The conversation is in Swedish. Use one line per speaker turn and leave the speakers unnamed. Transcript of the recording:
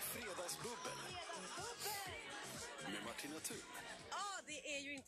Fredagsbubbel med Martina Thun.
Ja, det är ju inte